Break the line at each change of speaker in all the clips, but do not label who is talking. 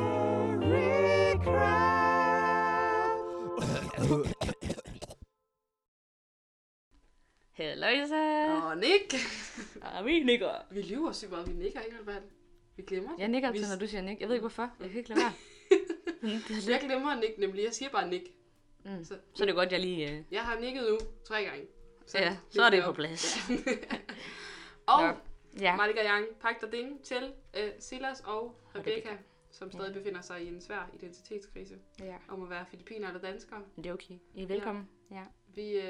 Cocky Crab.
Halløjsa.
Og Nick.
Og Ah, vi nikker.
Vi lyver sygt meget. Vi nikker ikke, eller hvad? Vi glemmer det.
Jeg nikker altid,
Vi-
når du siger nik. Jeg ved ikke hvorfor. Jeg kan ikke lade være. det er
Jeg
lidt.
glemmer Nick nemlig. Jeg siger bare Nick.
Mm.
Så
Så er det godt, jeg lige... Øh...
jeg har nikket nu tre gange.
Ja, så er det på plads.
og
Nå. Ja.
Malika Young pagter ding til uh, Silas og Rebecca, som stadig
Ja.
befinder sig i en svær identitetskrise
ja.
om at være filipiner eller danskere.
Men det er okay. I er velkommen. Ja.
Vi, øh,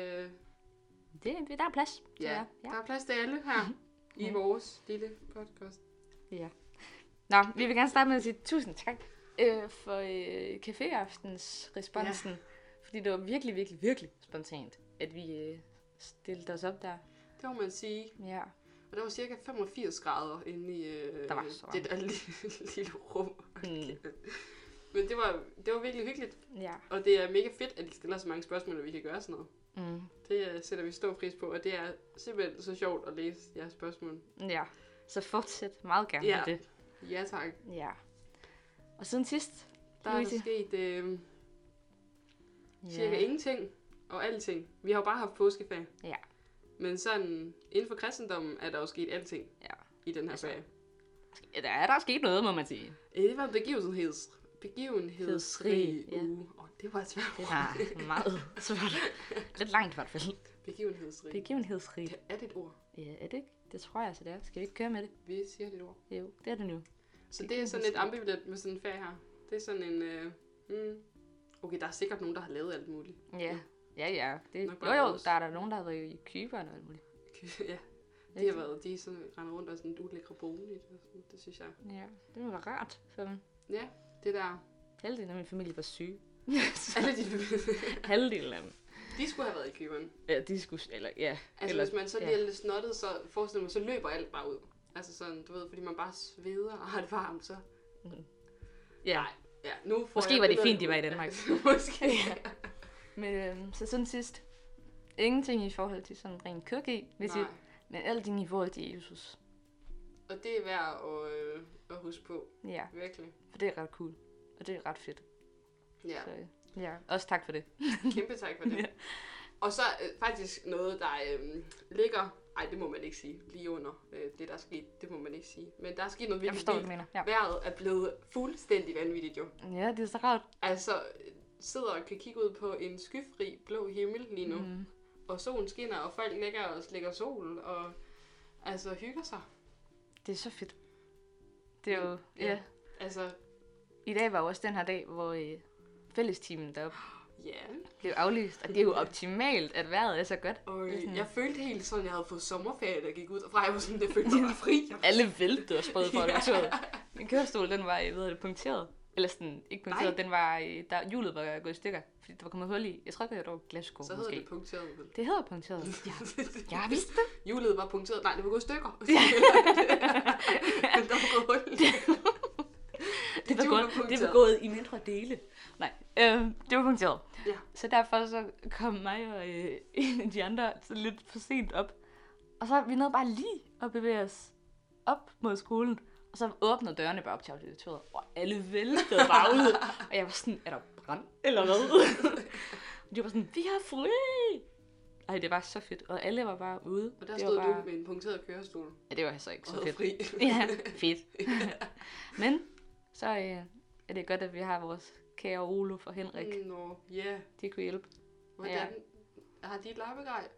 Det, det- der er plads. til
ja,
jer.
der er plads til alle her i
Ja.
vores lille podcast.
Nå, vi vil gerne starte med at sige tusind tak øh, for øh, caféaftens responsen. Fordi det var virkelig, virkelig, virkelig spontant, at vi øh, stillede os op der.
Det må man sige.
Ja.
Og der var cirka 85 grader inde i øh,
Der var så varmt.
det der lille, lille rum.
Mm.
Men det var, det var virkelig hyggeligt,
Ja.
og det er mega fedt, at de stiller så mange spørgsmål, og vi kan gøre sådan noget.
Mm.
Det øh, sætter vi stor pris på, og det er simpelthen så sjovt at læse jeres spørgsmål.
Ja. Så fortsæt meget gerne
Ja.
med det.
Ja tak.
Ja. Og siden sidst,
Der er
Louise.
der sket øh, cirka
ja.
ingenting og alting. Vi har jo bare haft påskefag.
Ja.
Men sådan, inden for kristendommen er der jo sket alting
Ja.
i den her
Altså,
fag.
Ja, der er der er sket noget, må man sige.
Ja, det var en begivenheds, begivenhedsrig
Begivenhedsrig, ja.
uge. Åh, det var et svært
Det
ord.
var meget svært. Lidt langt i hvert fald.
Begivenhedsrig.
Begivenhedsrig.
Det er det et ord.
Ja, er det ikke? Det tror jeg altså, det er. Skal vi ikke køre med det?
Vi siger det et ord.
Jo, det er det nu.
Så det er sådan lidt ambivalent med sådan en ferie her. Det er sådan en... Øh, mm, okay, der er sikkert nogen, der har lavet alt muligt.
Ja. Ja, ja. Det,
Nok
jo,
bare
jo,
vores.
der er der nogen, der har været i Kyberen og alt muligt.
ja, de har været, de sådan, render rundt og sådan lidt ulækre bolig. Og sådan, det synes jeg.
Ja, det var rart for dem.
Ja, det der.
Halvdelen af min familie var syge.
Alle de familier,
Halvdelen af dem.
de skulle have været i køberen.
Ja, de skulle... Eller, ja.
Altså
Eller-
Eller, hvis man så
ja.
lige er lidt snottet, så forestil mig, så løber alt bare ud. Altså sådan, du ved, fordi man bare sveder og har det varmt, så...
Ja.
Ja, nu får
Måske
jeg
var det
billedet
fint, de
ud.
var i Danmark.
Måske.
Men øhm, så sådan sidst. Ingenting i forhold til sådan ren køkke, hvis I,
Nej.
men alting i forhold til Jesus.
Og det er værd at, øh, at huske på,
Ja,
virkelig.
for det er ret cool. Og det er ret fedt.
Ja.
Så, ja. Også tak for det.
Kæmpe tak for det.
Ja.
ja. Og så øh, faktisk noget, der øh, ligger... Ej, det må man ikke sige. Lige under øh, det, der er sket. Det må man ikke sige. Men der er sket noget
Jeg
virkelig
forstår, hvad du
vildt.
mener. Ja.
Vejret er blevet fuldstændig vanvittigt jo.
ja, det er så rart.
Altså, øh, sidder og kan kigge ud på en skyfri blå himmel lige nu. Mm.
Mm.
Og solen skinner, og folk ligger og slikker sol, og altså hygger sig.
Det er så fedt. Det er jo... Ja.
Ja. Altså,
I dag var jo også den her dag, hvor øh, fællestimen deroppe
ja.
blev aflyst. Og det er jo optimalt, at vejret er så godt.
Og
Det er sådan-
øh, jeg følte helt sådan, at jeg havde fået sommerferie, der gik ud. Og fra jeg var sådan, jeg følte mig bare fri. Jeg
Alle væltede og sprød for ja. toget. Min kørestol, den var, øh, hvad hedder det, punkteret. Eller sådan, ikke punkteret,
Nej.
den var, øh, der, hjulet var gået i stykker, fordi der var kommet hul i. Jeg tror ikke, det var glasgård,
Så hedder
måske.
det punkteret, vel?
Det hedder punkteret. Ja, jeg vidste det.
Hjulet var punkteret. Nej, det var gået i stykker. Ja. der var gået hul.
Det var, gået,
Dit hjul var
det var
punkteret.
gået i mindre dele. Nej, øh, det var punkteret.
Ja.
Så derfor så kom mig og øh, en af de andre så lidt for sent op. Og så vi nåede bare lige at bevæge os op mod skolen. Og så åbnede dørene bare op til auditoriet, og alle væltede bare ud. Og jeg var sådan, er der brand eller hvad? og de var sådan, vi har fri! Ej, det var så fedt. Og alle var bare ude.
Og der
det
stod
var
du
bare...
med en punkteret kørestol
Ja, det var så ikke
og
så
havde
fedt.
fri.
Ja, fedt. Men så øh, er det godt, at vi har vores kære Olof og Henrik. Mm.
Nå, ja.
De kunne hjælpe.
Hvordan har de et lappegrej?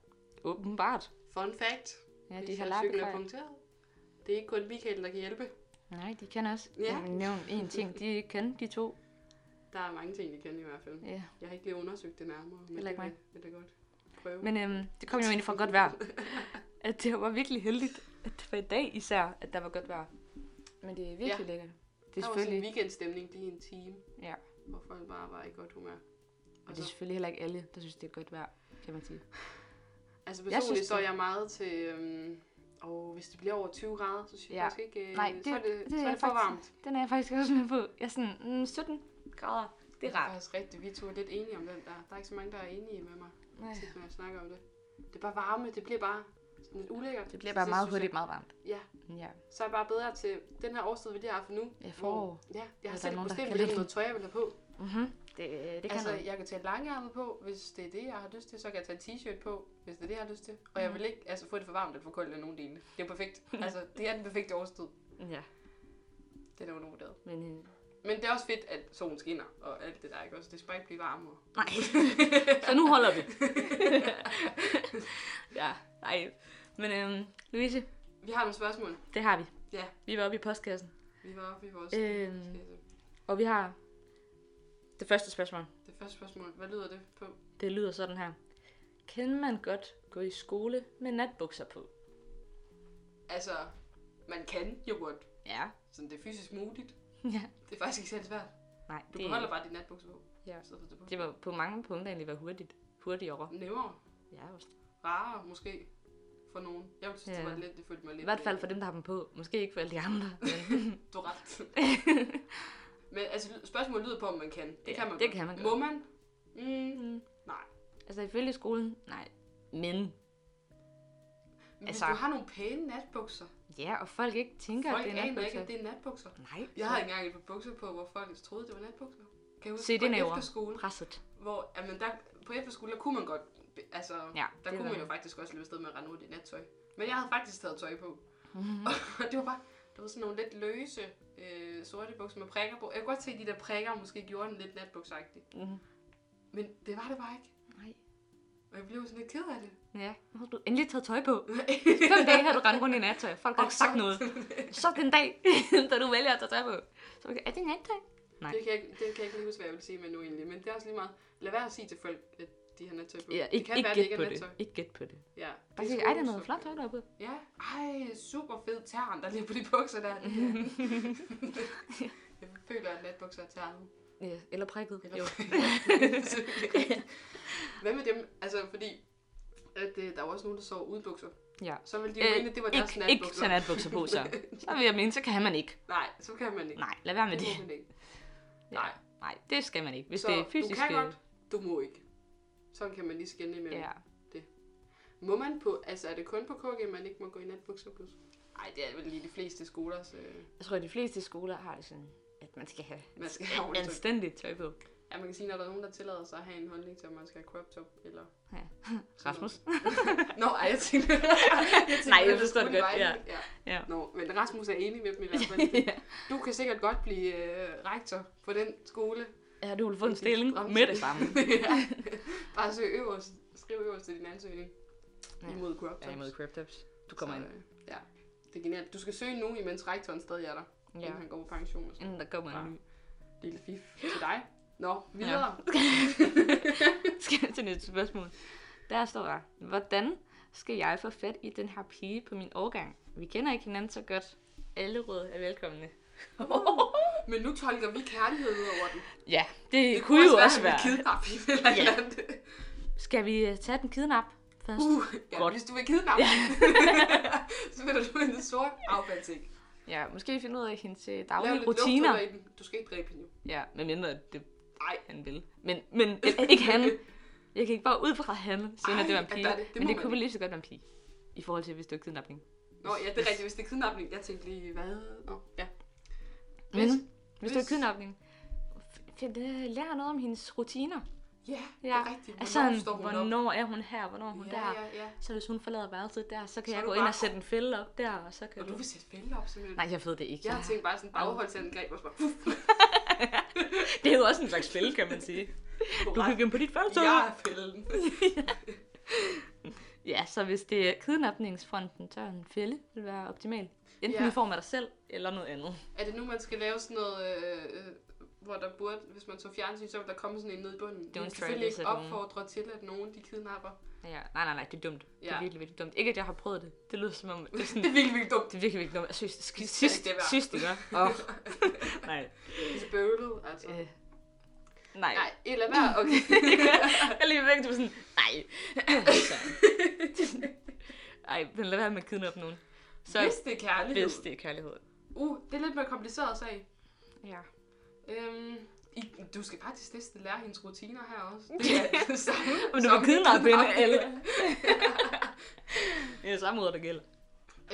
Åbenbart.
Fun fact.
Ja,
Hvis
de har
jeres cykel er
lappegrej.
punkteret. Det er ikke kun Michael, der kan hjælpe.
Nej, de kan også.
Ja.
Ja. Jeg vil nævne en ting, de ikke kan, de to.
Der er mange ting, de kan i hvert fald.
Ja.
Jeg har ikke lige undersøgt det nærmere. Men
Heller ikke
det vil- vil da godt. Prøve.
Men øhm, det kom jo egentlig fra godt vejr. At det var virkelig heldigt, at det var i dag især, at der var godt vejr. Men det er virkelig ja. lækkert. Det er,
der var sådan en
selvfølgelig,
weekendstemning lige en time,
ja,
hvor folk bare var i godt humør.
og
Og
det er
så,
selvfølgelig heller ikke alle, der synes, det er godt vejr, kan man sige.
altså
Jeg synes,
personligt jeg synes, står
det-
jeg meget til, øhm, og hvis det bliver over 20 grader, så synes jeg
Ja.
faktisk ikke, øh,
Nej,
så er det, så er
jeg
det for
faktisk-
varmt.
Den er jeg faktisk også med på. Jeg er sådan, mm, 17 grader. Det er
Det er
rart.
faktisk rigtigt. Vi to er lidt enige om den der. Der er ikke så mange, der er enige med mig,
Nej.
tit, når jeg snakker om det. Det er bare varme. Det bliver bare sådan lidt ulækkert.
Det bliver
Så
bare meget
synes jeg-
hurtigt meget varmt.
Ja,
Ja,
så er jeg bare bedre til den her årstid, vi lige har haft nu.
Ja, forår.
hvor- Ja, jeg
der
har selv
nogen, der
bestemt,
kan
hvilket
lide.
noget tøj, jeg vil have på.
mm-hmm. det, det kan
altså,
noget.
jeg kan tage langarmet på, hvis det er det, jeg har lyst til. Så kan jeg tage en t-shirt på, hvis det er det, jeg har lyst til. Og
Mm.
jeg vil ikke altså, få det for varmt eller for koldt eller nogen dele. Det er perfekt. altså, det er den perfekte årstid.
Ja,
Det er undervurderet.
men... øh,
Men det er også fedt, at solen skinner og alt det der, ikke også? Det skal bare ikke blive varmere.
Nej, så nu holder vi. ja, nej. Men øhm, Louise,
Vi har nogle spørgsmål.
det har vi.
Ja,
Vi var oppe i postkassen,
vi var oppe i vores...
Øhm. og vi har det første spørgsmål.
Det første spørgsmål, hvad lyder det på?
Det lyder sådan her. Kan man godt gå i skole med natbukser på?
Altså, man kan jo godt.
Ja.
Sådan, det er fysisk muligt.
ja.
Det er faktisk ikke særlig svært.
Nej,
Du
det,
beholder bare dine natbukser på.
Ja.
Så det på.
det var på mange punkter egentlig var hurtigt. Hurtigt over.
Nemmere,
Ja, også.
rarere måske for nogen. Jeg synes,
Ja.
det var lidt, det følte mig lidt...
I hvert fald for dem, der har dem på. Måske ikke for alle de andre. Men
Du har ret. Men altså, spørgsmålet lyder på, om man kan. Det
Ja,
kan man
det
godt.
kan man
Må man? Mm,
Mm.
nej.
altså ifølge skolen, nej. Men
Men altså,
Altså-
hvis du har nogle pæne natbukser,
ja, og folk ikke tænker,
folk
at det er
aner ikke,
natbukser.
at det er natbukser.
Nej.
Jeg havde engang et par bukser på, hvor folk troede, det var natbukser. Kan jeg huske,
Se,
på
den er jo
efterskole,
presset.
hvor, jamen, der, på efterskole, der kunne man godt, altså,
Ja,
der
det
kunne
var
man jo
det.
faktisk også løbe afsted med at rende ud i nattøj. Men jeg havde faktisk taget tøj på.
Mm.
Og det var bare, det var sådan nogle lidt løse øh, sorte bukser med prikker på. Jeg kunne godt se, at de der prikker måske gjorde den lidt natbuksagtig.
Mhm.
Men det var det bare ikke.
Nej.
Og jeg blev sådan lidt ked af det.
Ja, nu har du endelig taget tøj på. Fem dage har du rendt rundt i nattøj. Folk har ikke sagt noget. Så den dag, da du vælger at tage tøj på. Så er det nattøj? Nej.
Det kan, jeg, ikke- det kan jeg ikke lige huske, hvad jeg vil sige med nu egentlig. Men det er også lige meget. Lad være at sige til folk, at de har nattøj på.
Ja,
det
ikke,
kan
ikke
være, det
gæt
ikke
på
er
det.
nattøj.
Ikke gæt på det.
Ja.
Bare sige,
sgu
ej, der er noget
så-
flot tøj deroppe.
Ja. Ej, super fed tern, der ligger på de bukser der. jeg føler, at natbukser er ternet.
Ja, eller prikket.
Eller-
Jo.
Hvad med dem? Altså, fordi at, øh, der var også nogen, der sov uden bukser.
Ja.
Så ville de jo
Øh,
mene, at det var deres
Ikke, ikke
natbukser.
tage natbukser på, så. Så vil jeg mene, så kan man ikke.
Nej, så kan man ikke.
Nej, lad være med
det
det.
må man ikke. Nej,
Nej, det skal man ikke. Hvis
så
det er fysisk... øh,
du kan godt, du må ikke. Sådan kan man lige skænde imellem.
Ja.
Må man på, altså er det kun på KG, man ikke må gå i natbukser plus? Nej, det er vel lige de fleste skolers, øh,
Jeg tror, at de fleste skoler har det sådan, at man skal have
man skal have ordentligt.
anstændigt tøj på.
Ja, man kan sige, når der er nogen, der tillader sig at have en holdning til, om man skal have crop top, eller...
Ja.
sådan
Rasmus.
noget. Nå, ej, jeg tænkte... jeg tænkte
Nej, jeg
hvordan
forstår det
skulle
godt,
være.
ja.
ja.
Ja.
Nå, men Rasmus er enig med dem i hvert fald. Du kan sikkert godt blive øh, rektor på den skole.
Ja, du vil få en stilling med det samme.
ja. Bare søg øverst. Skriv øverst til din ansøgning.
Ja.
Ja. Imod crop tops.
cryptops. Du
Så, øh, Ja, det er genialt. Du skal søge nu, imens rektoren stadig er der. Ja.
Ja.
Inden han går på pension og sådan.
Inden der kommer en ny.
Lille fif til dig. Nå, videre. Ja.
Skal jeg til næste spørgsmål? Der står der, hvordan skal jeg få fat i den her pige på min årgang? Vi kender ikke hinanden så godt. Alle råd er velkomne.
Men nu tolker vi kærlighed ud over den.
ja, det, det kunne jo også
at vi
være.
kidnapper hende eller
Ja.
et eller andet.
Skal vi øh, tage den kidnap først?
Uh, ja,
Godt.
hvis du vil kidnappe hende, så finder du en sort afbandsing.
Ja, måske finde ud af hendes øh,
Lav
daglige
lidt
rutiner.
luft ud af den. Du skal ikke dræbe hende. jo.
Ja, men mindre at det
Ej.
han vil. Men, men øh, ikke han. Jeg kan ikke bare ud fra han, sige, at det var en
Ej, at
pige.
der er det. Det
men
må
det
man
kunne vel lige så godt være en pige. I forhold til, hvis det var kidnapning.
Nå, ja, det er rigtigt. Hvis det er kidnapning, jeg tænkte lige, hvad? Nå, ja.
Men
Hvis-
hvis, hvis det var
hvis-
kidnapning, f- find, øh, lær noget om hendes rutiner.
Ja, det
Ja,
er rigtigt.
Altså,
Hvornår står hun op?
hvornår er hun her, hvornår er hun
Ja,
der.
ja, ja.
Så hvis hun forlader værelset der, så kan
Så er
jeg
du
gå ind
bare-
og sætte en fælde op der, og så kan
Og du vil sætte fælde op, simpelthen.
Nej, jeg ved det ikke.
Jeg har tænkt bare sådan bagholdsangreb og så bare... Puff,
Det er jo også en slags fælde, kan man sige. Du kan gemme på dit fælde,
Jeg er fælden.
Ja, så hvis det er kidnapningsfronten, så er en fælde vil være optimal. Enten
Ja.
i form af dig selv, eller noget andet.
Er det nu, man skal lave sådan noget, øh, øh, hvor der burde, hvis man så fjernsyn, så ville der komme sådan en ned i bunden?
try
vi skal selvfølgelig
this
ikke
at home.
opfordre til, at nogen de kidnapper.
Ja, nej, nej, nej, det er dumt. Ja. Det
Ja.
er virkelig, virkelig dumt. Ikke, at jeg har prøvet det. Det lyder som om, det er, sådan,
Det er virkelig, virkelig dumt.
det er virkelig, virkelig dumt. Jeg synes, det
Det
er
skal
sidst,
ikke det være.
sidst, ikke? Åh, oh. nej.
Det er bøvlet, altså.
Øh. Nej.
Nej, et eller andet. Okay.
Jeg lige væk, du var sådan, nej. altså. Ej, men lad være med at kidnappe nogen. Så
Hvis det er kærlighed.
hvis det er kærlighed.
Uh, det er lidt mere kompliceret sag.
Ja.
Øhm, I, du skal faktisk næsten lære hendes rutiner her også. Det er det samme.
Men du
som
vil kidnappe hende,
kidnapning.
eller? Det er samme ord, der gælder.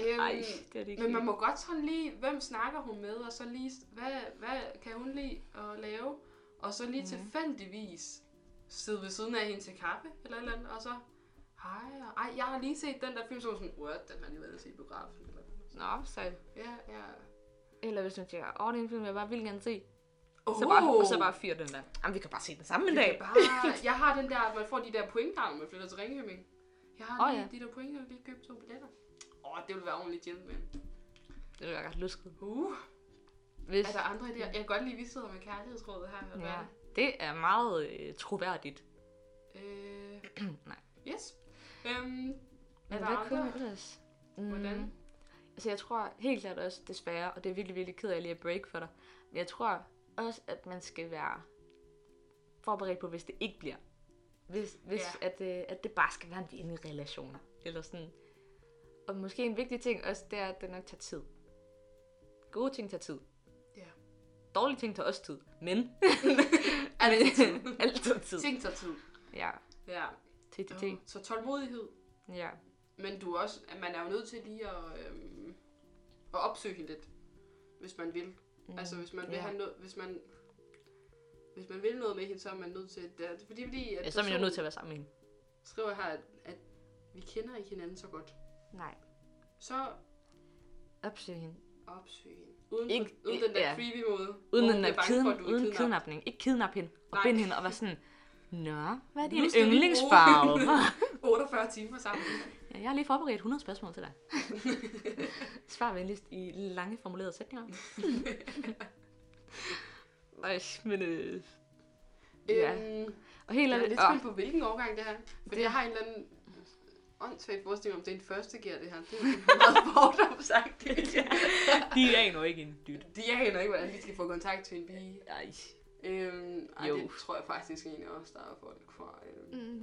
Øhm,
Ej, det er det ikke.
Men man må godt sådan lige, hvem snakker hun med, og så lige, hvad, hvad kan hun lide at lave? Og så
Mhm.
lige mm. tilfældigvis sidde ved siden af hende til kaffe, eller et eller andet, og så, hej, og, ej, jeg har lige set den der film, så var jeg sådan, what, den har lige været at se i biografen, eller
Nå, så.
Ja, ja.
Eller hvis man tænker, åh, det er en film, jeg bare vil gerne se.
Oh,
Så bare, så bare fyr den der. Uh. Jamen, vi kan bare se den samme en
det er
dag.
bare, jeg har den der, at man får de der pointgarn, når man flytter til Ringkøbing. Jeg har
Åh,
oh, lige
ja.
de der pointer, vi kan købe to billetter. Åh, oh, det ville være ordentligt gentleman.
Det ville være ret lusket.
Uh,
Hvis,
er der andre idéer? Jeg kan godt lide, at vi sidder med kærlighedsrådet her. eller hvad er
Altså, ja,
det?
det er meget øh, troværdigt.
Øh,
Nej.
Yes. Øhm, er
Men hvad
der andre?
kunne man ellers? Mm.
Hvordan?
Altså, jeg tror helt klart også, desværre, og det er virkelig, virkelig ked af lige at break for dig, men jeg tror også, at man skal være forberedt på, hvis det ikke bliver. Hvis, hvis ja. at, øh, at det bare skal være en venlig relationer. Eller sådan. Og måske en vigtig ting også, det er, at det nok tager tid. Gode ting tager tid.
Ja.
Dårlige ting tager også tid, men... altid. altid tid.
Ting tager tid.
Ja,
Ja.
TTT.
Uh, så tålmodighed.
Ja,
Men du er også, at man er jo nødt til lige at, øhm, at opsøge hende lidt, hvis man vil. Mm. Altså hvis man vil
ja.
have noget, hvis man hvis man vil noget med hende, så er man nødt til det. er- Fordi, fordi at
ja så er man jo
personen
nødt til at være sammen med hende.
skriver her, at, at vi kender ikke hinanden så godt.
Nej,
Så
opsøg hende.
opsøg hende. Uden,
Ikke-
ikke, uden den der
ja.
creepy måde.
Uden,
hvor
den
hun
der
bliver bange
kiden,
for, at du vil
uden
kidnappe.
kidnapning. Ikke kidnap hende og
Nej.
bind hende og være sådan, Nå, hvad er din
Nu skal vi bruge-
yndlingsfarve?
48 timer sammen.
ja, jeg har lige forberedt 100 spørgsmål til dig. Svar venligst i lange formulerede sætninger. Nej, men... Øh, Ja.
Øhm,
og helt
Jeg er
ærligt,
lidt
åh,
spændt på, hvilken årgang det her. Fordi det... jeg har en eller anden åndssvagt forestilling om, det er en første gear, det her. Det er jo meget fordomsagtigt.
de aner ikke en dyt.
De aner ikke, hvordan de skal få kontakt til en pige.
Ej.
Øhm, ej,
Jo. Mm.
det tror jeg faktisk egentlig også, der er folk fra. Øhm.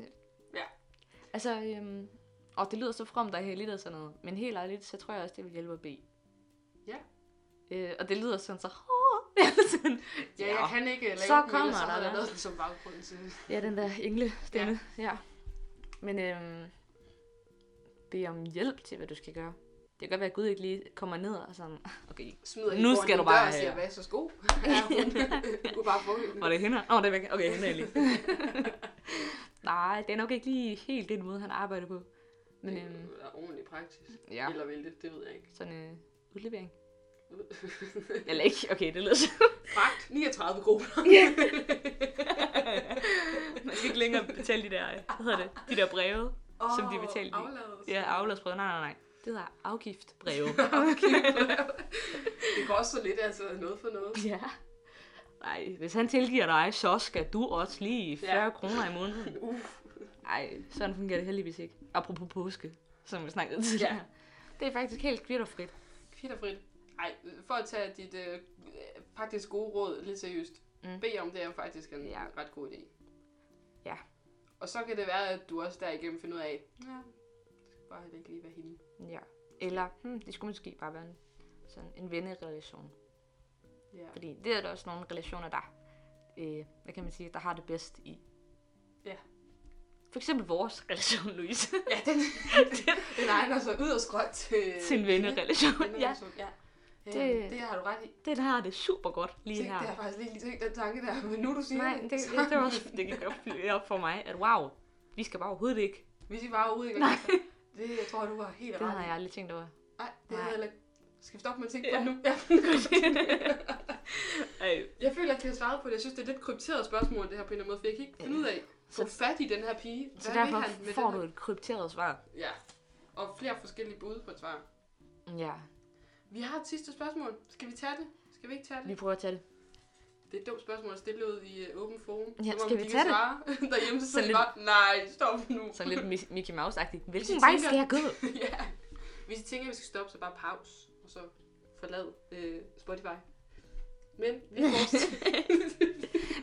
Ja.
Altså, øhm, og det lyder så fremt og heldigt og sådan noget, men helt ærligt, så tror jeg også, det vil hjælpe at bede.
Ja.
Øh, og det lyder sådan så... eller sådan,
Ja, jeg kan ikke øh, lave
Så
den, ellers
kommer
så har
der
jeg
noget.
lavet den som baggrund til.
Ja, den der englestemme. Ja. ja. Men øhm, bed om hjælp til, hvad du skal gøre. Det kan godt være, at Gud ikke lige kommer ned og sådan, okay,
Smider
Nu
foran
skal
din
du bare
dør og siger,
have-
hvad så sko? Ja, hun, hun er bare på hende.
og det er hende. Åh, oh, det er væk. Okay, hende er jeg lige. Nej, det er nok ikke lige helt den måde, han arbejder på. Men øhm,
Det er ordentlig praktisk.
ja,
Eller vil det, det ved jeg ikke.
sådan øh, udlevering. Eller ikke, okay, det lyder så.
Fragt, 39 kroner.
Man skal ikke længere betale de der, øh, hvad hedder det, de der breve. Som de
Åh,
betalte i.
afladelsen.
Ja, afladsbreve. Nej, nej, nej. Det hedder afgiftbreve.
Det går også så lidt, altså noget for noget.
Ja. Nej, hvis han tilgiver dig, så skal du også lige 40
Ja.
ja. kroner i måneden.
Uff.
Nej, sådan fungerer det heldigvis ikke. Apropos påske, som vi snakkede tidligere.
Ja.
Ja. Det er faktisk helt kvitterfrit.
Kvitt og frit. Ej, for at tage dit øh, faktisk gode råd lidt seriøst. Mm.
Mm.
Bed om det er faktisk en ja.
Ja.
ret god idé.
Ja.
Og så kan det være, at du også derigennem finder ud af, ja, det skal bare heller ikke lige være hende.
Ja. Eller, hmm, det skulle måske bare være en, sådan en vennerelation.
Ja.
Fordi det er der også nogle relationer, der, øh, hvad kan man sige, der har det bedst i.
Ja.
For eksempel vores relation, Louise.
ja, den, den egner sig ud og skråt til,
Til en Øh, vennerelation.
Ja.
Ja,
ja. Det,
Det-
det har du ret i.
den har det super godt lige
Tænk,
her.
Det har jeg faktisk lige, lige tænkt den tanke der, men nu du siger
Nej, det,
så-
det, det, var også, det gik op, op for mig, at wow, vi skal bare overhovedet ikke.
Hvis I bare ude, Nej. Det jeg tror du var helt
Det
ret.
havde
i.
jeg aldrig tænkt over.
Nej, det
Nej.
havde jeg heller ikke. Skal vi stoppe med at tænke på
Ja.
nu? Ja.
Ej,
Jeg føler, at jeg har svaret på det. Jeg synes, det er et lidt krypteret spørgsmål, det her på en eller anden måde, for jeg kan ikke finde ud af, få
Så-
fat i den her pige. Hvad
så
vil
derfor
han med
får
den
du
her-
et krypteret svar.
Ja, og flere forskellige bud på et svar.
Ja,
Vi har et sidste spørgsmål. Skal vi tage det? Skal vi ikke tage det?
vi prøver at tage det.
Det er et dumt spørgsmål at stille ud i øh, åben forum.
Ja,
Som om
skal
de
vi
kan
tage det?
svare derhjemme, så
Så
sidder de
lidt-
bare, nej, stop nu.
Sådan lidt Mi- Mickey Mouse-agtigt. Hvilken
I
vej
tænker-
skal jeg gå?
ja. Hvis I tænker, at vi skal stoppe, så bare pause, og så forlad øh, Spotify. Men vi fortsætter.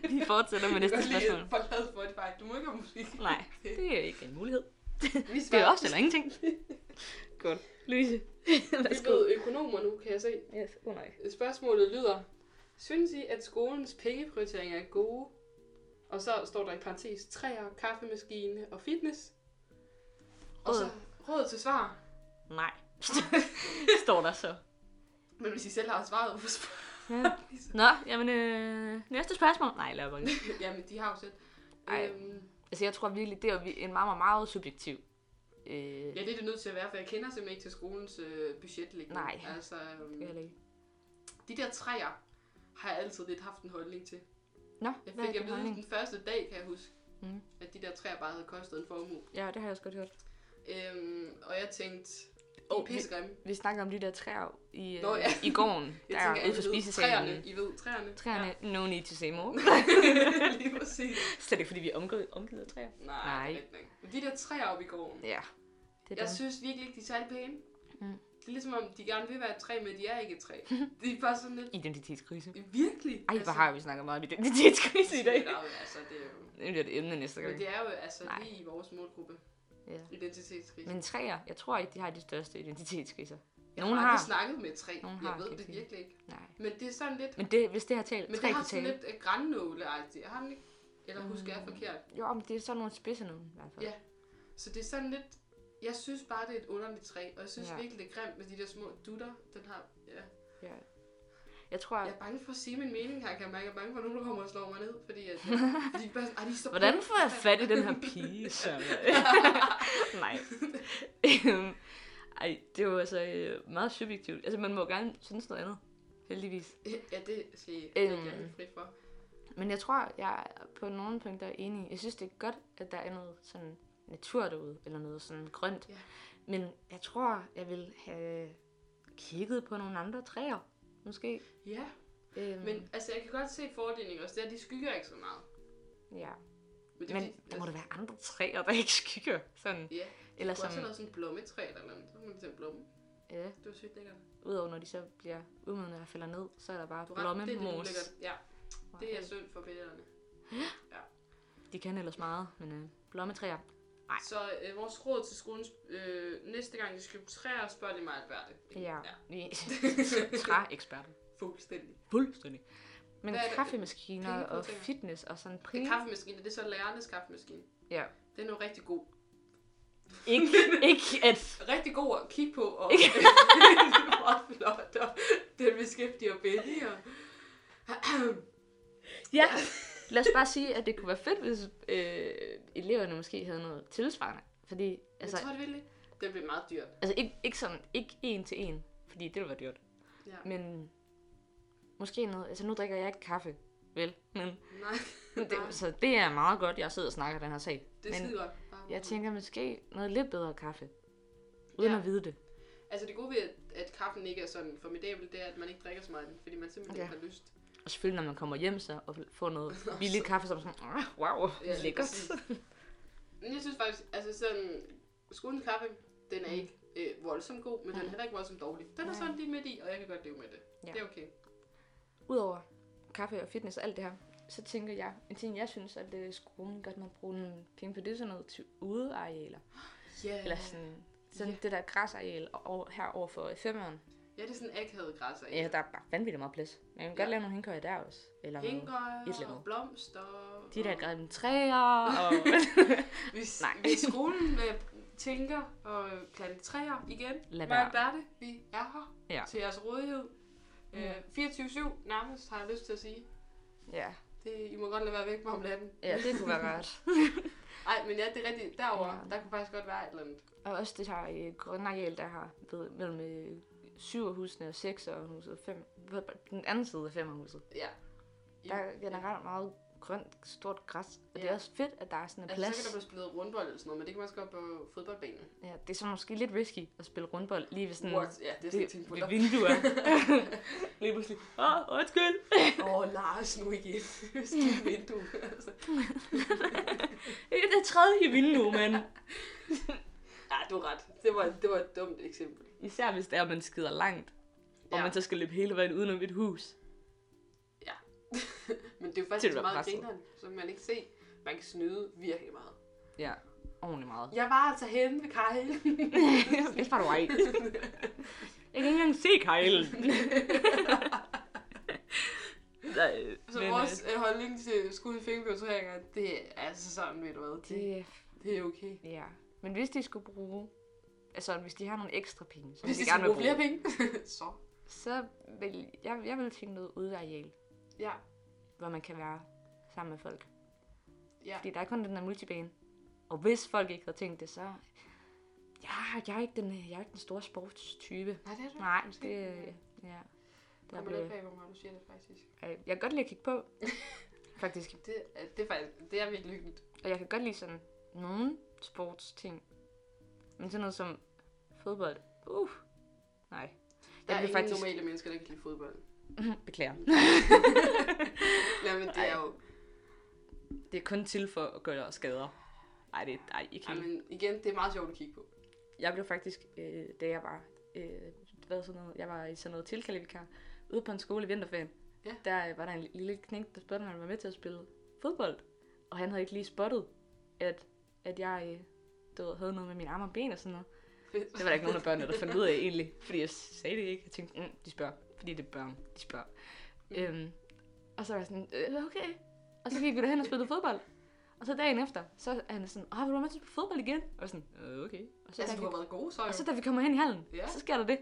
Vi fortsætter med næste
Jeg kan godt lide,
spørgsmål.
at Forlad Spotify. Du må ikke have musik.
Nej, det er ikke en mulighed.
Vi
Det er
svarer-
også eller ingenting. Godt. Louise,
Vi er
værsgo.
blevet økonomer nu, kan jeg se.
Yes, oh nej.
Spørgsmålet lyder, synes I, at skolens pengeprioriteringer er gode? Og så står der i parentes træer, kaffemaskine og fitness. Og så Råd til svar.
Nej. Står der så.
Men hvis I selv har svaret, hvorfor
Ja.
spørger I så?
Nå, jamen øh, næste spørgsmål. Nej, lad mig
Jamen, de har jo selv.
Ej.
Øhm,
Altså, jeg tror virkelig, det er vi- en meget, meget, meget subjektiv. Øh,
ja, det er det nødt til at være, for jeg kender simpelthen ikke til skolens øh, budgetlægning.
Nej.
Altså, øhm,
ja.
de der træer har jeg altid lidt haft en holdning til.
Nå,
Jeg
hvad er
fik
din
at vide
holdning?
den første dag, kan jeg huske,
Mhm.
at de der træer bare havde kostet en formue.
Ja, det har jeg også godt hørt.
Øhm, og jeg tænkte,
Åh,
oh,
vi-
pissegrimme.
Vi snakker om de der træer i, øh,
Nå, ja.
i gården,
Jeg
der
tænker,
ude for
I ved,
spisesalen.
Træerne, I ved, træerne.
Træerne, ja. no need to say more.
Ja. Lige præcis.
Slet ikke, fordi vi er omgivet, omgivet af træer.
Nej,
Nej.
Nej. Det er rigtigt nok. Men de der træer oppe i gården,
Ja, det er
Jeg
det.
synes virkelig ikke, de er særlig pæne.
Mm.
Mm. Det er ligesom om, de gerne vil være et træ, men de er ikke et træ. de er bare sådan lidt...
Identitetskrise.
Virkelig?
Ej, hvor har vi snakket meget om identitetskrise i dag.
Det er jo, altså, det er jo...
Det bliver et emne næste gang.
Men det er jo altså
Nej.
lige i vores målgruppe.
Ja.
Identitetskrise.
Men træer, jeg tror ikke, de har de største identitetskriser.
jeg
nogen
har aldrig
har.
snakket med et træ.
Nogen
jeg
har,
ved
kan jeg
det
sige.
virkelig ikke.
Nej.
Men det er sådan lidt...
Men det, hvis det har talt,
Men
træ
det har
kan
sådan
tale. Mm.
lidt øh, grænnåle Har den ikke? Eller husker jeg forkert?
Jo, men det er sådan nogle spidse nogen, i hvert fald.
Ja. Så det er sådan lidt... Jeg synes bare, det er et underligt træ. Og jeg synes
Ja.
ja. virkelig, det er grimt med de der små dutter. Den har... Ja.
Ja. Jeg tror,
Jeg
at...
er bange for at sige min mening her, kan jeg mærke. Jeg er bange for, at nogen der kommer og slår mig ned, fordi at, fordi de bare sådan, "Ej, de er så
Hvordan får jeg fat i den her pige? Så... Nej. Øhm, Ej, det er jo altså øh, meget subjektivt. Altså, man må gerne synes noget andet. Heldigvis.
Ja, det siger jeg, det er jeg
Øhm.
helt fri for.
Men jeg tror, jeg er på nogle punkter er enig. Jeg synes, det er godt, at der er noget sådan natur derude, eller noget sådan grønt.
Ja.
Men jeg tror, jeg vil have kigget på nogle andre træer, måske.
Ja,
Øhm,
men altså, jeg kan godt se fordelingen også. Det er, at de skygger ikke så meget.
ja.
Men, er
men
fordi, altså
der må der være andre træer, der ikke skygger. Sådan.
Ja,
Eller
eller sådan...
som,
Også have noget sådan et blommetræ eller noget. Så må man tage en blomme.
ja,
Det var sygt lækkert.
udover når de så bliver udmodnet og falder ned, så er der bare
Du har ret, det er lidt
blommemos.
ulækkert. Ja, det er synd for billederne.
De kan ellers meget, men øh, blommetræer. Ej.
Så øh, vores råd til skolen, øh, næste gang I skal på træer, spørg lige mig, hvad er det?
Ja,
ja.
vi træeksperter.
Fuldstændig.
Fuldstændig. Men
Hvad er det?
kaffemaskiner og
Pengepudringer?
fitness og sådan
Det
pris.
er kaffemaskinen, det er så lærernes kaffemaskine.
Ja.
Den er jo rigtig god.
Ikke, ikke at...
rigtig god at kigge på, og meget flot, og den beskæftiger Benny, og
Ja. Lad os bare sige, at det kunne være fedt, hvis øh, eleverne måske havde noget tilsvarende. Fordi,
altså,
altså,
jeg tror det virkelig, den bliver meget dyrt.
altså ikke, ikke sådan, ikke en til en, fordi det ville være dyrt.
Ja.
Men måske noget, altså nu drikker jeg ikke kaffe, vel? Men
Nej,
Men Det, så det er meget godt, jeg sidder og snakker den her sag.
det er
Men
skide godt. Bare
jeg tænker måske noget lidt bedre kaffe. Uden ja.
Ja.
at vide det.
Altså det gode ved, at, at kaffen ikke er sådan formidabel, det er, at man ikke drikker så meget, af den, fordi man simpelthen
Ja.
ikke har lyst.
Og selvfølgelig, når man kommer hjem så og får noget billigt kaffe, så er man sådan, "Ah, wow,
Ja, lige
lækkert.
præcis. Men jeg synes faktisk, altså sådan, skolens kaffe, den er ikke øh, voldsomt god, men den er heller ikke voldsomt dårlig. Den er
Mm. Nej.
sådan lige midt i, og jeg kan godt leve med det.
Ja.
Det er okay.
Udover kaffe og fitness og alt det her, så tænker jeg, en ting jeg synes, at øh, skolen godt må bruge nogle penge på, det er sådan noget til udearealer.
Yeah.
Eller sådan, sådan
Ja.
det der græsareal over, her over for femmeren.
Ja, det er sådan akavet græsser.
Ja, der er bare vanvittigt meget plads. Man kan godt
Ja.
lave nogle hængkøjer der også. Eller nogle- et eller
Hængøjer,
andet.
og blomster.
de der
og-
grimme træer, og
Hvis,
Nej.
Nej. hvis skolen øh, tænker at øh, plante træer igen,
Lad
mig
være.
og Berthe, vi er her
Ja. Mm.
ja. til jeres rådighed. Øh, 24-7 nærmest, har jeg lyst til at sige.
ja,
Det, I må godt lade være væk med om natten.
ja, det kunne være rart.
Nej, men ja, det er rigtigt. Derovre,
Ja.
ja. der kunne faktisk godt være et eller andet.
Og også det her øh, grønne areal, der har ved, mellem øh, syverhusene og sekserhuset og fem, hvad- den anden side af femmerhuset.
Ja. I-
Der er generelt meget grønt, stort græs. Og det er
Ja.
også fedt, at der er sådan en
Altså,
plads.
så kan der blive spillet rundbold eller sådan noget, men det kan man også godt på fodboldbanen.
Ja, det er så måske lidt risky at spille rundbold lige ved sådan...
What? Ja, det er
Det,
sådan en ting på
ved
dig.
vinduer. lige pludselig. Åh, oh, undskyld.
Åh, oh, Lars, nu igen. Skidt vindue. altså.
Det er det tredje vindue, men
Ja, du har ret. Det var, det var et dumt eksempel.
især hvis det er, at man skider langt, og
Ja.
man så skal løbe hele vejen udenom et hus.
Ja. Men det er jo
Til
faktisk
du er
meget
presset.
grineren, som man ikke se. Man kan snyde virkelig meget.
Ja, ordentligt meget.
Jeg var altså henne ved Kyle.
det var du ej. Jeg kan ikke engang se kejlen. Nej,
Så Men, vores øh, holdning til skud i fingerbjørnsrækker, det er altså sådan, ved du hvad. Det,
det,
det er okay.
ja. Men hvis de skulle bruge altså hvis de har nogle ekstra penge, som
Hvis de
de
skal
gerne vil
bruge
bruge,
flere penge, så
så vil jeg, jeg vil finde noget udeareal,
ja.
hvor man kan være sammen med folk.
Ja.
Fordi der er kun den der multibane. Og hvis folk ikke havde tænkt det, så... Ja, jeg er ikke den, jeg er ikke den store sportstype.
Nej, det er du
Nej,
ikke.
det... øh,
Jeg
Ja. Der
kommer
blev,
lidt bag, hvor meget du siger det faktisk.
øh, jeg kan godt lide at kigge på, faktisk.
Det, er- det er faktisk, det er virkelig hyggeligt.
Og jeg kan godt lide sådan nogle sportsting. Men sådan noget som fodbold. Uh, nej.
Der
blev
er
faktisk-
ingen faktisk... normale mennesker, der kan lide fodbold.
Beklager.
Nej, men det er jo...
Det er kun til for at gøre skader. Nej, det er ikke
Ej, men igen, det er meget sjovt at kigge på.
Jeg blev faktisk, øh, da jeg var, øh, hvad sådan noget, jeg var i sådan noget tilkaldevikar, ude på en skole i vinterferien.
Ja.
Der øh, var der en lille knægt, der spurgte, om han var med til at spille fodbold. Og han havde ikke lige spottet, at, at jeg øh, du ved, havde noget med mine arme og ben og sådan noget.
Fedt.
Det var der ikke nogen af børnene, der fandt ud af egentlig, fordi jeg sagde det ikke. Jeg tænkte, mm, de spørger, fordi det er børn, de spørger.
Mm.
Mm. Øhm, og så var jeg sådan, øh, okay. Og så gik vi derhen og spillede fodbold. Og så dagen efter, så er han sådan, åh, vil du være med til at spille fodbold igen? Og jeg var sådan, øh, okay. Og så, da
Altså, du
vi-
har været god, så jo.
og så da vi kommer hen i hallen,
Ja.
ja. så sker der det,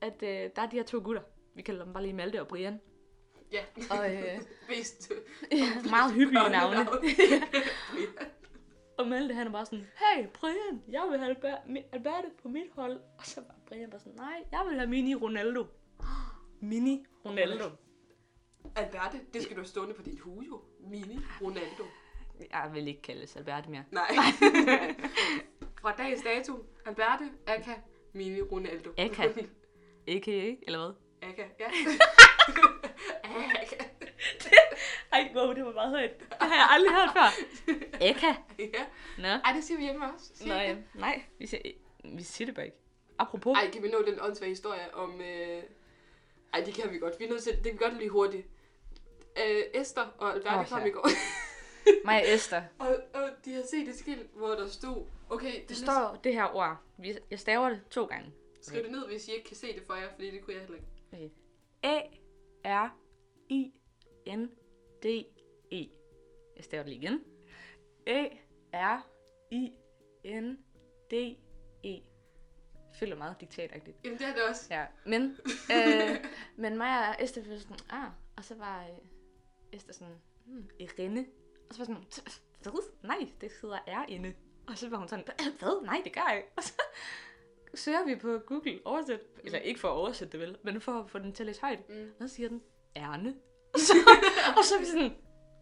at øh, der er de her to gutter. Vi kalder dem bare lige Malte og Brian.
Ja.
Og øh,
Vist.
meget hyggelige navne.
Ja.
Og Malte han er bare sådan, hey Brian, jeg vil have Alba- Mi- Alberte på mit hold. Og så var Brian bare sådan, nej, jeg vil have Mini Ronaldo. Mini Ronaldo.
Alberte, det skal du have stående på dit hue jo. Mini Ronaldo.
Jeg vil ikke kaldes Alberte mere.
Nej. Fra dags dato, Alberte, Aka, Mini Ronaldo.
Aka. A.k.a. eller hvad?
Aka, ja. Aka.
Ej, wow, det var meget højt. Det har jeg aldrig hørt før. Eka.
Ja.
Nå.
Ej, det siger vi hjemme også. Siger
Nå,
I
ja.
det?
Nej, vi siger, vi siger det bare ikke. Apropos.
Ej, kan vi nå den åndssvage historie om... Øh... Ej, det kan vi godt. Vi er nødt til... Det kan vi godt lige hurtigt. Øh, Esther og Alberte
Åh,
oh, kom
ja.
i går.
Mig og Esther.
Og, og de har set et skilt, hvor der stod... Okay, det,
Det
er
står det her ord. Vi- Jeg staver det to gange.
lidt- Skriv det ned, hvis I ikke kan se det for jer, fordi det kunne jeg heller ikke.
Øh, A-R-I-N-D-E. E. Jeg staver det lige igen. A-R-I-N-D-E. Det føler E. meget diktatagtigt.
Jamen, det er det også.
Ja, men, øh, men mig og Esther var sådan, ah, og så var øh, Esther sådan, hmm, Irene. Og så var jeg sådan, hvad? Nej, det hedder Erinde. Og så var hun sådan, hvad? Nej, det gør jeg ikke. Og så søger vi på Google oversæt, eller ikke for at oversætte det vel, men for at få den til at læse højt.
Mm.
Og så siger den, Erne. Og så, og så er vi sådan,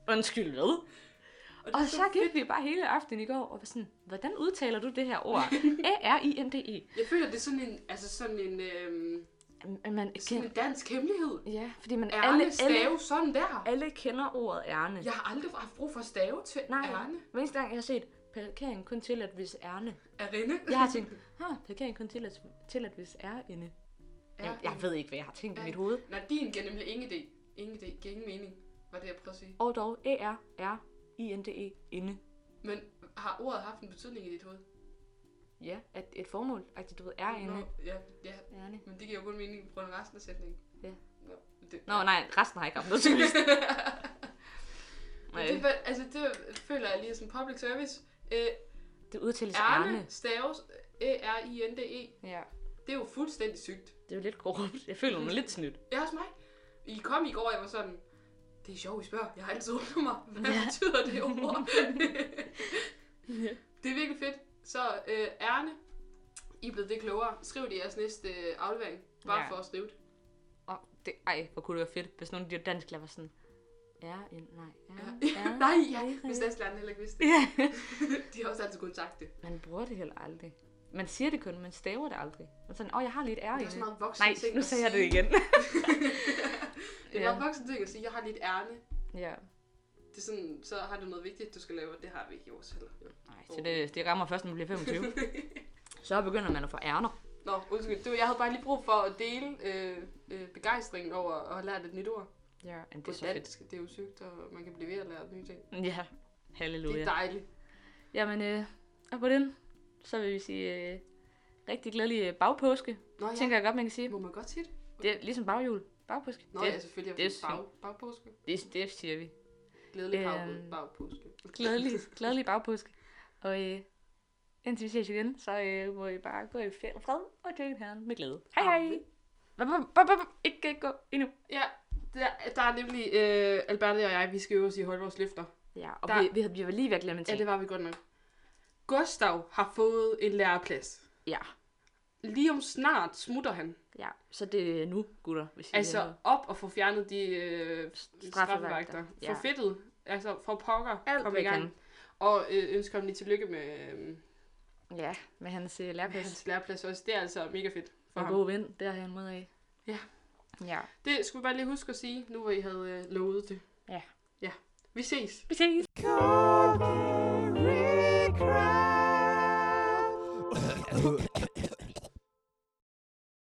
undskyld hvad?
Og, det
Og
er
så gik vi bare hele aftenen i går og var sådan, hvordan udtaler du det her ord? A-R-I-N-D-E.
Jeg føler, det er sådan en, altså sådan en, øhm,
Man
sådan
kender,
en dansk hemmelighed.
ja, fordi man
Erne
alle, alle,
stave sådan der.
alle kender ordet ærne.
Jeg har aldrig haft brug for stave til
Nej,
Erne.
hver eneste gang jeg har set parkering kun til at hvis ærne.
Arinde.
Jeg har tænkt, ah, parkering kun til at, til at hvis ærinde. Jeg, jeg ved ikke, hvad jeg har tænkt i mit hoved.
Nej, din giver nemlig ingen idé. Ingen idé. Giver ingen mening, var det, jeg prøvede at sige.
Og dog, E A-R-R-I-N-D-E, E, inde.
Men har ordet haft en betydning i dit hoved?
Ja, at et formål, at du ved, er inde.
ja, ja.
Ærne.
Men det giver jo kun mening på grund af resten af sætningen.
Ja.
Nå, det,
Nå, nej, resten har ikke haft noget til det.
Men det, var- altså, det føler jeg lige er sådan public service. Øh,
Det udtales Erne.
Erne staves E E-R-I-N-D-E.
Ja,
Det er jo fuldstændig sygt.
det er jo lidt korrupt. Jeg føler mig lidt snydt.
Det er også mig. I kom i går, og jeg var sådan, det er sjovt, I spørger. Jeg har altid undret mig. Hvad ja. betyder det ord? det er virkelig fedt. Så øh, ærne, I er blevet det klogere. Skriv det i jeres næste øh, aflevering. Bare ja.
Ja.
for at skrive det.
Og det, ej, hvor kunne det være fedt, hvis nogen af de der dansklærer var sådan, er en, nej,
Ja.
er, er.
Nej, ja. hvis danskerne heller ikke vidste det.
Ja.
De har også altid kun sagt det.
Man bruger det heller aldrig. Man siger det kun, man staver det aldrig. Man er sådan, åh, jeg har lidt ære
Det
i
er også
det.
meget voksne
Nej,
ting
nu
at
sagde jeg det
sige.
igen.
Det er
Ja.
meget voksne ting at sige, jeg har lidt ærne.
ja.
Det er sådan, så har du noget vigtigt, du skal lave, og det har vi ikke i vores heller.
Nej, så det, det rammer først, når man bliver 25. Så begynder man at få ærner.
Nå, undskyld. Det var, jeg havde bare lige brug for at dele øh, øh, begejstringen over at have lært et nyt ord.
Ja, men det
På
er så fedt.
dansk, det er jo sygt, og man kan blive ved at lære nye ting.
Ja,
Det er
halleluja.
dejligt.
Jamen, øh, og på den, så vil vi sige øh, rigtig glædelig øh, bagpåske.
Nå ja,
Tænker jeg godt, man kan sige.
må man godt sige det?
Det er ligesom baghjul. Bagpåske.
Nå
det,
ja, selvfølgelig.
det
Jeg
er
det bag, bagpåske.
det, det siger vi.
Glædelig
Øhm,
øhm, bagpåske.
Glædelig, glædelig bagpåske. Og øh, Indtil vi ses igen, så øh, må I bare gå i fe- fred og dyrke herren med glæde. Hej hej! Bop, bop, bop, bop. Ikke gå endnu.
Ja, der, der er nemlig øh, Alberte og jeg, vi skal øve os i at holde vores løfter.
Ja, og
Der-
vi, vi, havde- vi var lige ved at glemme en
Ja,
ting.
det var vi godt nok. Gustav har fået en læreplads.
Ja,
Lige om snart smutter han.
ja. Så det er nu, gutter, hvis I vil
Altså
have
op og få fjernet de øh, straffevagter.
Ja.
Få fedtet. Altså for pokker.
Alt,
kom
hvad
i
I
gang. Og øh, ønsker ham lige tillykke med øh,
noget. Ja, med hans øh,
med
lærplads.
hans læreplads også. Det er altså mega fedt for
Og
ham.
god ven, det har han mod af.
Ja.
Ja.
Det skulle vi bare lige huske at sige, nu hvor I havde øh, lovet det.
Ja.
Ja. Vi ses.
Vi ses!
Corky Crab.